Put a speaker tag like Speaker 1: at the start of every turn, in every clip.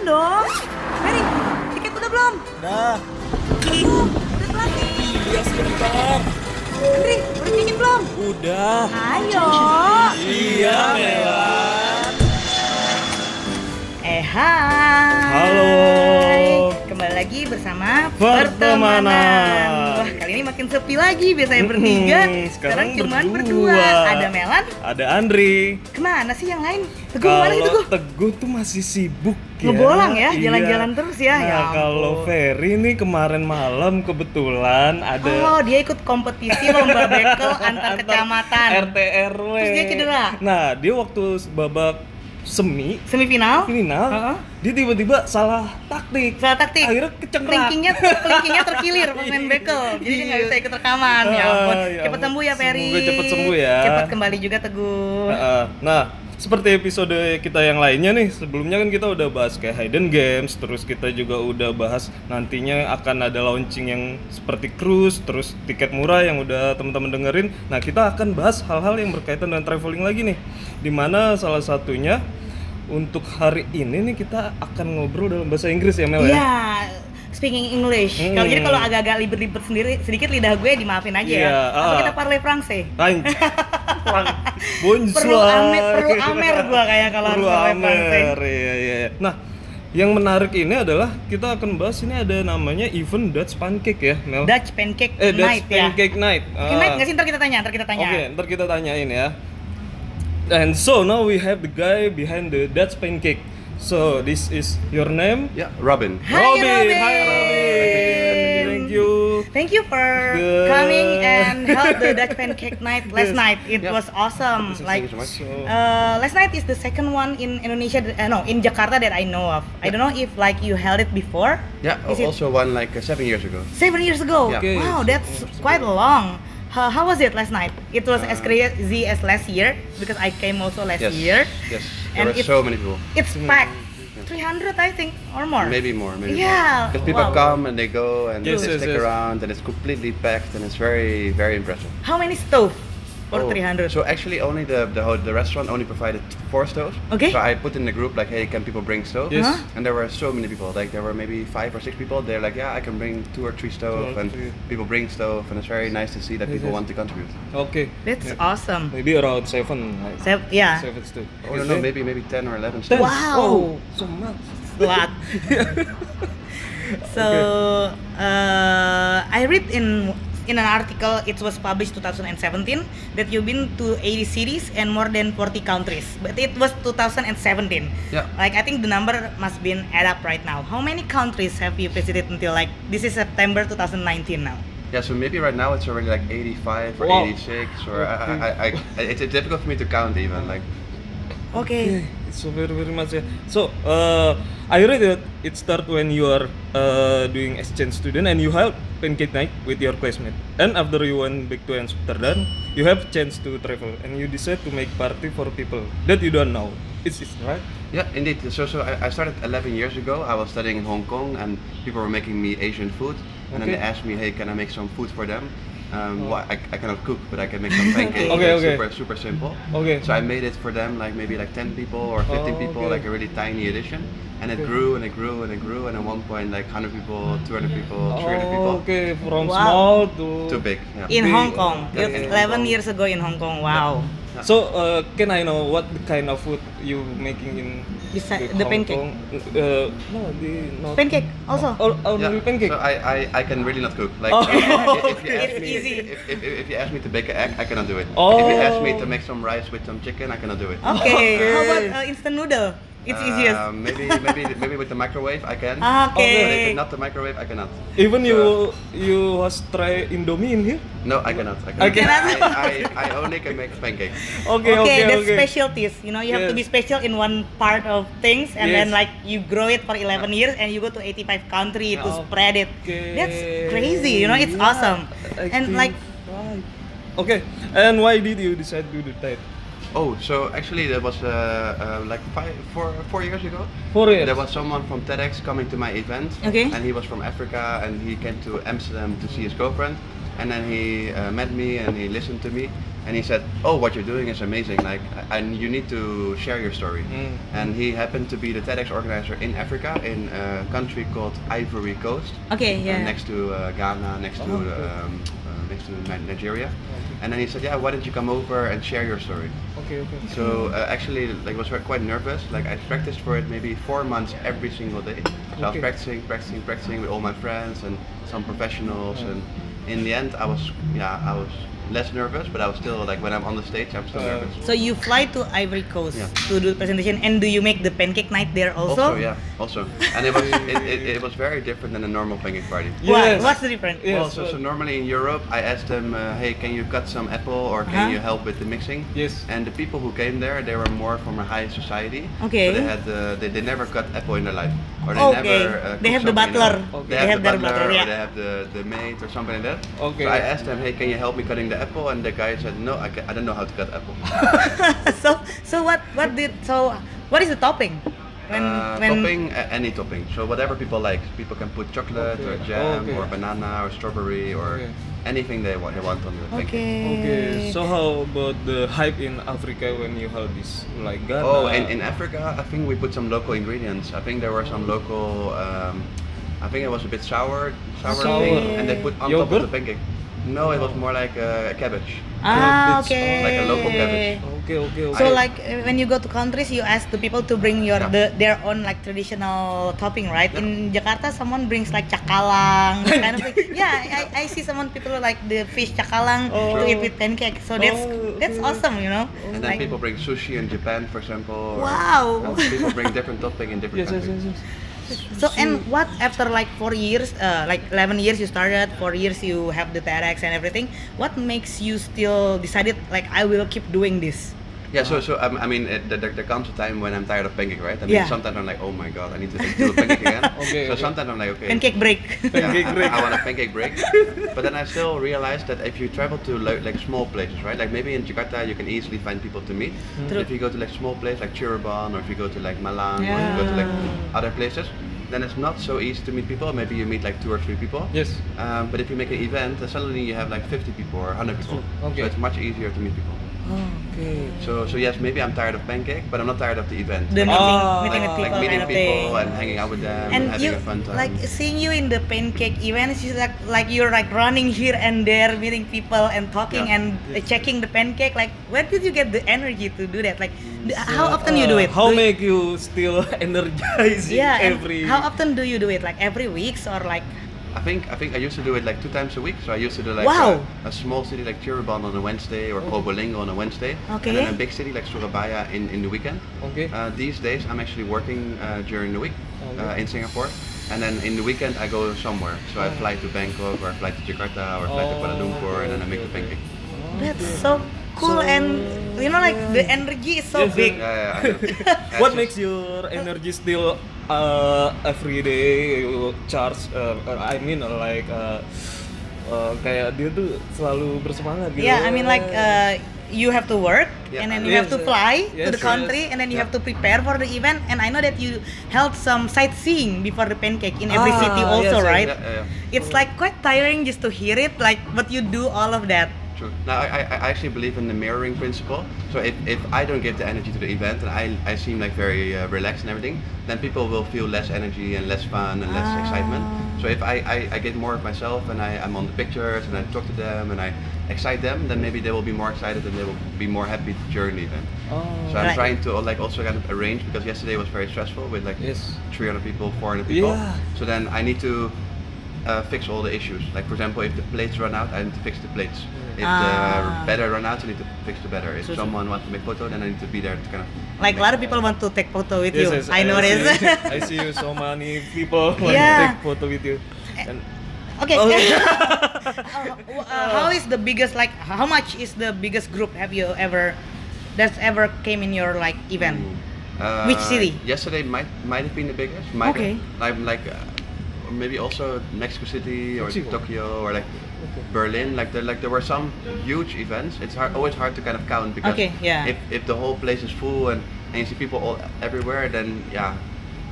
Speaker 1: dong. Mary, tiket udah belum?
Speaker 2: Udah,
Speaker 1: Aduh, udah telat nih.
Speaker 2: iya sebentar.
Speaker 1: Andri, udah check-in belum?
Speaker 2: Udah.
Speaker 1: Ayo.
Speaker 2: Iya, Mela.
Speaker 1: Eh, hai.
Speaker 2: Halo.
Speaker 1: Kembali lagi bersama
Speaker 2: Pertemanan.
Speaker 1: Pertemanan. Wah, kali ini makin sepi lagi. Biasanya
Speaker 2: Hmm,
Speaker 1: bertiga,
Speaker 2: sekarang
Speaker 1: sekarang cuma berdua.
Speaker 2: berdua.
Speaker 1: Ada Melan.
Speaker 2: Ada Andri.
Speaker 1: Kemana sih yang lain? Teguh mana sih Teguh?
Speaker 2: Kalau Teguh tuh masih sibuk ya.
Speaker 1: Ngebolang ya,
Speaker 2: Iya.
Speaker 1: jalan-jalan terus ya. Ya
Speaker 2: Nah,
Speaker 1: ampun.
Speaker 2: kalau Ferry nih kemarin malam kebetulan ada
Speaker 1: Oh, dia ikut kompetisi lomba bekel antar kecamatan.
Speaker 2: RT RW.
Speaker 1: Terus dia cedera?
Speaker 2: Nah, dia waktu babak semi
Speaker 1: Semifinal?
Speaker 2: final,
Speaker 1: Heeh.
Speaker 2: dia tiba-tiba salah taktik.
Speaker 1: Salah taktik.
Speaker 2: Akhirnya kecengklak.
Speaker 1: Kelingkingnya, kelingkingnya terkilir pas main bekel. Jadi dia nggak bisa ikut rekaman. Ya ampun.
Speaker 2: Ah, ya
Speaker 1: Cepet
Speaker 2: ampun.
Speaker 1: sembuh ya Peri.
Speaker 2: Semoga cepet sembuh ya.
Speaker 1: Cepet kembali juga Teguh.
Speaker 2: Nah, nah, seperti episode kita yang lainnya nih, sebelumnya kan kita udah bahas kayak Hidden Games, terus kita juga udah bahas nantinya akan ada launching yang seperti cruise, terus tiket murah yang udah teman-teman dengerin. Nah, kita akan bahas hal-hal yang berkaitan dengan traveling lagi nih. Dimana salah satunya untuk hari ini nih kita akan ngobrol dalam bahasa Inggris ya Mel ya.
Speaker 1: Iya. Speaking English.
Speaker 2: Hmm.
Speaker 1: Kalau jadi kalau agak-agak libet-libet sendiri sedikit lidah gue dimaafin aja
Speaker 2: Iya,
Speaker 1: ya. Apa
Speaker 2: ah.
Speaker 1: kita parler Prancis?
Speaker 2: Anj- Lang- Bonsoir.
Speaker 1: Perlu amer, perlu amer gua kayak kalau harus
Speaker 2: Perlu
Speaker 1: parler Prancis.
Speaker 2: Amer, iya, iya, iya. Nah, yang menarik ini adalah kita akan bahas ini ada namanya event Dutch Pancake ya, Mel.
Speaker 1: Dutch pancake
Speaker 2: eh, Dutch
Speaker 1: night ya.
Speaker 2: Pancake Night.
Speaker 1: Pancake
Speaker 2: Ah.
Speaker 1: night nggak sih ntar kita tanya, ntar kita tanya.
Speaker 2: Oke, ntar kita tanyain ya. And so now we have the guy behind the Dutch Pancake. So this is your name?
Speaker 3: Yeah, Robin.
Speaker 1: Hi, Robin.
Speaker 2: Hi Robin. Thank you.
Speaker 1: Thank you for
Speaker 2: Good.
Speaker 1: coming and help the Dutch Pancake Night last
Speaker 2: Yes.
Speaker 1: night. It
Speaker 3: Yep.
Speaker 1: was awesome. Like
Speaker 3: Thank you so much.
Speaker 2: So-
Speaker 1: uh, last night is the second one in Indonesia. that- Uh, no, in Jakarta that I know of. I don't know if like you held it before.
Speaker 3: Yeah,
Speaker 1: Is it-
Speaker 3: also one like uh, seven years ago.
Speaker 1: Seven years ago.
Speaker 3: Yeah. Okay.
Speaker 1: Wow, that's quite long. How, how was it last night? It was as crazy as last year because I came also last
Speaker 3: Uh, Yes.
Speaker 1: year.
Speaker 3: Yes.
Speaker 1: And
Speaker 3: There were
Speaker 1: it's-
Speaker 3: so many people.
Speaker 1: It's packed. 300 I think or more.
Speaker 3: Maybe more. Maybe
Speaker 1: Yeah,
Speaker 3: Because people
Speaker 1: wow.
Speaker 3: come and they go and
Speaker 2: Yes,
Speaker 3: they
Speaker 2: yes,
Speaker 3: stick
Speaker 2: yes.
Speaker 3: around and it's completely packed and it's very very impressive.
Speaker 1: How many stove for
Speaker 3: Oh,
Speaker 1: 300?
Speaker 3: So actually, only the the, ho- the restaurant only provided four stoves.
Speaker 1: Okay. Uh-huh.
Speaker 3: So I put in the group like, hey, can people bring stoves?
Speaker 2: Yes.
Speaker 1: Huh?
Speaker 3: And there were so many people. Like there were maybe five or six people. They're like, yeah, I can bring two or three stoves,
Speaker 2: Two or
Speaker 3: and
Speaker 2: three.
Speaker 3: people bring stove, and it's very nice to see that
Speaker 2: Yes,
Speaker 3: people
Speaker 2: yes.
Speaker 3: want to contribute.
Speaker 2: Oke.
Speaker 1: That's awesome.
Speaker 2: Maybe around seven. Like.
Speaker 1: Sev- yeah.
Speaker 2: Seven stood.
Speaker 3: Oh no, no, maybe maybe ten or eleven.
Speaker 2: Ten.
Speaker 3: stoves.
Speaker 1: Wow.
Speaker 2: Oh, so much.
Speaker 1: lot. so uh, I read in in an article it was published 2017 that you've been to 80 cities and more than 40 countries but it was 2017
Speaker 3: Yeah.
Speaker 1: like I think the number must been add up right now how many countries have you visited until like this is September 2019 now
Speaker 3: Yeah, so maybe right now it's already like 85 or
Speaker 2: Wow.
Speaker 3: 86, or I, I, I, I, it's difficult for me to count even. Like,
Speaker 1: okay
Speaker 2: So very very much yeah. So uh, I read that it start when you are uh, doing exchange student and you held pancake night with your classmate. And after you went back to Amsterdam, you have chance to travel and you decide to make party for people that you don't know. It's, it's right.
Speaker 3: yeah, indeed. So, so I, I started 11 years ago. I was studying in Hong Kong, and people were making me Asian food, and then
Speaker 2: Okay.
Speaker 3: they
Speaker 2: Oh.
Speaker 3: asked me, hey, can I make some food for them? Um, well, I, I cannot cook, but I can make some pancakes.
Speaker 2: Okay,
Speaker 3: like,
Speaker 2: okay.
Speaker 3: Super, super simple.
Speaker 2: Okay.
Speaker 3: So I made it for them, like maybe like 10 people or 15
Speaker 2: Oh,
Speaker 3: people,
Speaker 2: okay.
Speaker 3: like a really tiny edition. And it grew and it grew and it grew, and at one point, like 100 people, 200 people, 300 people.
Speaker 2: Oh, okay. From
Speaker 1: Wow.
Speaker 2: small to
Speaker 3: Too big. Yeah.
Speaker 1: in
Speaker 2: Big.
Speaker 1: Hong Kong
Speaker 3: Yeah, in
Speaker 1: 11
Speaker 3: Hong Kong.
Speaker 1: years ago in Hong Kong wow
Speaker 2: So uh, can I know what the kind of food you making in
Speaker 1: Besi-
Speaker 2: the
Speaker 1: the
Speaker 2: Hong
Speaker 1: pancake.
Speaker 2: Kong? Uh, no, the not
Speaker 1: pancake also
Speaker 2: Oh, only
Speaker 3: Yeah,
Speaker 2: pancake.
Speaker 3: So I, I, I can really not cook. Like
Speaker 2: Oh,
Speaker 3: if, you
Speaker 1: okay.
Speaker 3: ask
Speaker 1: It's
Speaker 3: me,
Speaker 1: easy.
Speaker 3: If, if, if you ask me to bake an egg, I cannot do it. If you
Speaker 2: Oh.
Speaker 3: ask me to make some rice with some chicken, I cannot do it.
Speaker 1: okay,
Speaker 2: Okay.
Speaker 1: how about uh, instant noodle Oh, it's easiest
Speaker 3: oh, Um, maybe maybe maybe with the microwave I can.
Speaker 1: Oh,
Speaker 3: But if
Speaker 1: okay
Speaker 3: it's not the microwave, I cannot.
Speaker 2: Even you
Speaker 3: So-
Speaker 2: you was try Indomie in here?
Speaker 3: No, I cannot. I
Speaker 2: I
Speaker 3: cannot.
Speaker 2: cannot.
Speaker 3: I, I, I only can make pancakes.
Speaker 2: Oke oke
Speaker 1: okay, that's
Speaker 2: oke.
Speaker 1: specialties. You know, you have to be
Speaker 2: Yes.
Speaker 1: special in one part of things, and then
Speaker 2: Yes.
Speaker 1: like you grow it for 11 years, and you go to 85 country to
Speaker 2: Okay.
Speaker 1: spread it. That's crazy. You know, it's
Speaker 2: Yeah,
Speaker 1: awesome.
Speaker 2: I
Speaker 1: and
Speaker 2: think
Speaker 1: like,
Speaker 2: right. Okay, and why did you decide to do that?
Speaker 3: Oh, so actually that was uh, uh, like five, four, four years ago.
Speaker 2: Four years.
Speaker 3: There was someone from TEDx coming to my event,
Speaker 1: Okay.
Speaker 3: and he was from Africa, and he came to Amsterdam to see his girlfriend, and then he uh, met me and he listened to me, and he said, "Oh, what you're doing is amazing. Like, and you need to share your story."
Speaker 2: Mm.
Speaker 3: And he happened to be the TEDx organizer in Africa, in a country called Ivory Coast,
Speaker 1: Okay,
Speaker 3: uh,
Speaker 1: yeah.
Speaker 3: next to uh, Ghana, next to
Speaker 2: Oh,
Speaker 3: the,
Speaker 2: okay.
Speaker 3: um, uh, next to Ni- Nigeria.
Speaker 2: Okay.
Speaker 3: And then he said, "Yeah, why don't you come over and share your story?"
Speaker 2: Oke oke.
Speaker 3: So uh, actually, like, was quite nervous. Like, I practiced for it maybe four months every single day. So I was
Speaker 2: Okay.
Speaker 3: practicing, practicing, practicing with all my friends and some professionals. And in the end, I was, yeah, I was less nervous, but I was still like, when I'm on the stage, I'm still
Speaker 2: Uh,
Speaker 3: nervous.
Speaker 1: So you fly to Ivory Coast
Speaker 3: Yeah.
Speaker 1: to do presentation, and do you make the pancake night there also?
Speaker 3: yeah, also. And it was it, it, it was very different than a normal pancake party.
Speaker 1: Why?
Speaker 2: Yes.
Speaker 1: What's the difference?
Speaker 2: Yes,
Speaker 3: well, so, so
Speaker 2: well-
Speaker 3: normally in Europe, I asked them, uh, hey, can you cut some apple or can
Speaker 1: Uh-huh.
Speaker 3: you help with the mixing?
Speaker 2: Yes.
Speaker 3: And the people who came there, they were more from a high society.
Speaker 1: Okay.
Speaker 3: So they had uh, they, they never cut apple in their life, or they
Speaker 1: Okay.
Speaker 3: never. Uh,
Speaker 1: They
Speaker 3: cook
Speaker 1: have the
Speaker 3: something in their
Speaker 1: butler.
Speaker 3: life.
Speaker 2: Okay.
Speaker 3: They, have, the butler, or they
Speaker 1: yeah.
Speaker 3: have the, the maid or something like that.
Speaker 2: Okay.
Speaker 3: So I asked them, hey, can you help me cutting the apple? And the guy said, no, I, ca- I don't know how to cut apple.
Speaker 1: so so what what did so what is the topping?
Speaker 3: uh, topping a- any topping so whatever people like people can put chocolate or
Speaker 2: Okay.
Speaker 3: jam
Speaker 2: Okay.
Speaker 3: or banana or strawberry or
Speaker 2: Okay.
Speaker 3: anything they want they want on the pancake
Speaker 1: Okay.
Speaker 2: Okay, so how about the hype in Africa when you held this? Like Ghana?
Speaker 3: oh and in africa i think we put some local ingredients i think there were some local um, i think it was a bit sour sour,
Speaker 2: Sour.
Speaker 3: thing and they put on top
Speaker 2: Yogurt?
Speaker 3: of the pancake no it was more like a cabbage
Speaker 1: ah,
Speaker 2: It's
Speaker 1: okay.
Speaker 3: like a local cabbage.
Speaker 2: Oke oke oke.
Speaker 1: So
Speaker 3: I-
Speaker 1: like uh, when you go to countries, you ask the people to bring your
Speaker 3: Yeah.
Speaker 1: the, their own like traditional topping, right?
Speaker 3: Yeah.
Speaker 1: In Jakarta, someone brings like cakalang kind of thing. Yeah, I, I see someone people like the fish cakalang to
Speaker 2: Oh.
Speaker 1: eat with pancake. So that's
Speaker 2: Oh,
Speaker 1: that's
Speaker 2: okay.
Speaker 1: awesome, you know.
Speaker 3: and then
Speaker 1: Like,
Speaker 3: people bring sushi in japan for example or-
Speaker 1: Wow.
Speaker 3: Yeah, people bring different topping in
Speaker 2: Yes
Speaker 3: different
Speaker 2: yes
Speaker 3: countries
Speaker 2: yes. yes.
Speaker 1: so and what after like four years, uh, like eleven years you started, four years you have the TEDx and everything. What makes you still decided like I will keep doing this?
Speaker 3: Yeah, so so um, I mean, it, there, there comes a time when I'm tired of pancake, right? I mean,
Speaker 1: Yeah.
Speaker 3: sometimes I'm like, oh my god, I need to do a pancake again.
Speaker 2: Okay, okay.
Speaker 3: so sometimes I'm like, okay,
Speaker 1: Pancake break.
Speaker 3: yeah,
Speaker 2: Pancake
Speaker 3: I-
Speaker 2: break.
Speaker 3: I, want a pancake break. but then I still realized that if you travel to like, like small places, right? Like maybe in Jakarta, you can easily find people to meet.
Speaker 1: True.
Speaker 3: If you go to like small places like Cirebon, or if you go to like Malang, or if you go to like
Speaker 1: Yeah.
Speaker 3: other places, then it's not so easy to meet people. Maybe you meet like two or three people.
Speaker 2: Yes.
Speaker 3: Um, but if you make an event, then suddenly you have like 50 people or 100 people.
Speaker 2: Okay.
Speaker 3: So it's much easier to meet people.
Speaker 1: Oh.
Speaker 2: Okay.
Speaker 3: So, so yes, maybe I'm tired of pancake, but I'm not tired of the event.
Speaker 1: The meeting,
Speaker 3: like,
Speaker 2: Ah,
Speaker 1: meeting with
Speaker 3: Oh, like
Speaker 1: people
Speaker 3: meeting
Speaker 1: kind of thing.
Speaker 3: people and hanging out with them and,
Speaker 1: and
Speaker 3: having
Speaker 1: you
Speaker 3: a fun time.
Speaker 1: like seeing you in the pancake events you like like you're like running here and there meeting people and talking
Speaker 3: Yeah.
Speaker 1: and uh,
Speaker 2: Yes.
Speaker 1: checking the pancake like where did you get the energy to do that like d- how
Speaker 2: So,
Speaker 1: often you do
Speaker 2: uh,
Speaker 1: it
Speaker 2: How
Speaker 1: Do you-
Speaker 2: make you still energizing
Speaker 1: yeah and
Speaker 2: every?
Speaker 1: how often do you do it like every weeks or like
Speaker 3: I think I think I used to do it like two times a week. So I used to do like
Speaker 1: Wow.
Speaker 3: a, a small city like Cirebon on a Wednesday or Kobolingo on a Wednesday,
Speaker 1: Okay.
Speaker 3: and then a big city like Surabaya in, in the weekend.
Speaker 2: Okay.
Speaker 3: Uh, these days I'm actually working uh, during the week
Speaker 1: Oh,
Speaker 3: uh,
Speaker 2: Okay.
Speaker 3: in Singapore, and then in the weekend I go somewhere. So
Speaker 1: Oh.
Speaker 3: I fly to Bangkok or I fly to Jakarta or I fly to Kuala
Speaker 2: Oh,
Speaker 3: Lumpur, and then I make the
Speaker 2: okay, okay.
Speaker 3: pancake.
Speaker 1: that's so cool
Speaker 2: Oh, So-
Speaker 1: and you know like the energy is so
Speaker 2: Yes,
Speaker 1: big
Speaker 3: Yeah, yeah, I know. Yeah,
Speaker 2: What
Speaker 3: it's
Speaker 2: makes your energy still uh, every day you charge? Uh, uh, I mean uh, like uh, uh, kayak dia tuh selalu bersemangat gitu.
Speaker 1: Yeah, I mean like uh, you have to work
Speaker 3: Yeah.
Speaker 1: and then you
Speaker 2: Yes,
Speaker 1: have to fly
Speaker 2: yes,
Speaker 1: to the
Speaker 2: yes.
Speaker 1: country and then you
Speaker 3: Yeah.
Speaker 1: have to prepare for the event and I know that you held some sightseeing before the pancake in every
Speaker 2: Ah,
Speaker 1: city also,
Speaker 2: yes, yes,
Speaker 1: right?
Speaker 3: Yeah, yeah, yeah.
Speaker 1: It's like quite tiring just to hear it like but you do all of that.
Speaker 3: True. Now, I, I I actually believe in the mirroring principle. So if, if I don't give the energy to the event and I, I seem like very uh, relaxed and everything, then people will feel less energy and less fun and less excitement. So if I, I, I get more of myself and I, I'm on the pictures and I talk to them and I excite them, then maybe they will be more excited and they will be more happy during the event.
Speaker 2: Oh.
Speaker 3: So
Speaker 1: Right.
Speaker 3: I'm trying to uh, like also kind of arrange because yesterday was very stressful with like
Speaker 2: Yes.
Speaker 3: 300 people, 400 people.
Speaker 2: Yeah.
Speaker 3: So then I need to uh, fix all the issues. Like for example, if the plates run out, I need to fix the plates. If
Speaker 1: Ah.
Speaker 3: the batter run out, I need to fix the batter. If
Speaker 1: So- so-
Speaker 3: someone wants to make photo, then I need to be there to kind of.
Speaker 1: Like a
Speaker 3: make-
Speaker 1: lot of people want to take photo with you.
Speaker 2: Yes, yes,
Speaker 1: I noticed.
Speaker 2: see, I see you so many people want to
Speaker 1: Yeah. Eh,
Speaker 2: take photo with you. And,
Speaker 1: okay.
Speaker 2: Oh.
Speaker 1: Uh, w- uh, how is the biggest like how much is the biggest group have you ever that's ever came in your like event?
Speaker 3: Uh,
Speaker 1: Which city?
Speaker 3: Yesterday might might have been the biggest. Might
Speaker 1: Okay.
Speaker 3: Have, I'm like uh, maybe also Mexico City or
Speaker 2: Mexico.
Speaker 3: Tokyo or like
Speaker 2: Okay.
Speaker 3: Berlin. Like there like there were some huge events. It's hard, always hard to kind of count because
Speaker 1: Okay, yeah.
Speaker 3: if, if the whole place is full and, and you see people all everywhere, then yeah.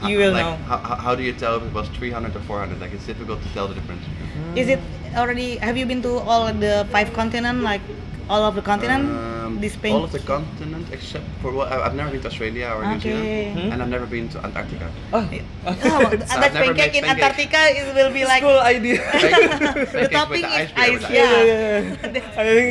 Speaker 1: You
Speaker 3: Ho-
Speaker 1: will
Speaker 3: like,
Speaker 1: know.
Speaker 3: How, how how do you tell if it was 300 or 400? Like it's difficult to tell the difference.
Speaker 1: Is it already? Have you been to all the five continent like all of the continent?
Speaker 3: Um,
Speaker 1: this
Speaker 3: all of the continent except for well, I- I've never been to Australia or New
Speaker 1: Okay.
Speaker 3: Zealand,
Speaker 2: Hmm?
Speaker 3: and I've never been to Antarctica.
Speaker 2: Oh,
Speaker 1: Oh, that
Speaker 3: I've never
Speaker 1: pancake in
Speaker 3: made pancake.
Speaker 1: Antarctica is will be like
Speaker 2: cool idea.
Speaker 1: the
Speaker 3: Pancakes
Speaker 1: topping
Speaker 3: with
Speaker 1: is
Speaker 3: ice beer,
Speaker 1: ice.
Speaker 3: with ice.
Speaker 2: yeah,
Speaker 1: Yeah.
Speaker 2: yeah, yeah. I think.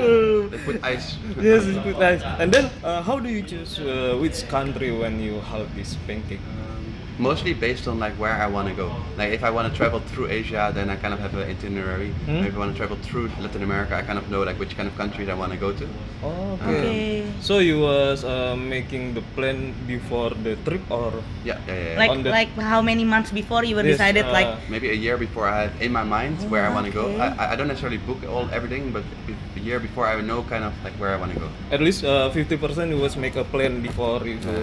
Speaker 3: They put ice.
Speaker 2: yes, it's good nice. And then, uh, how do you choose uh, which country when you have this pancake?
Speaker 3: Um, Mostly based on like where I want to go. Like if I want to travel through Asia, then I kind of have an itinerary.
Speaker 2: Hmm?
Speaker 3: If I want to travel through Latin America, I kind of know like which kind of countries I want to go to.
Speaker 2: Oh, okay.
Speaker 1: Okay.
Speaker 2: So you was uh, making the plan before the trip or?
Speaker 3: Yeah, yeah, yeah. yeah.
Speaker 1: Like
Speaker 2: On the-
Speaker 1: like how many months before you were
Speaker 2: Yes,
Speaker 1: decided
Speaker 2: uh,
Speaker 1: like
Speaker 3: Maybe a year before I have in my mind
Speaker 1: Oh,
Speaker 3: where I want to go.
Speaker 1: okay.
Speaker 3: I, I- I don't necessarily book all everything, but be- a year before I know kind of like where I want to go.
Speaker 2: At least uh, fifty percent you was make a plan before you. go.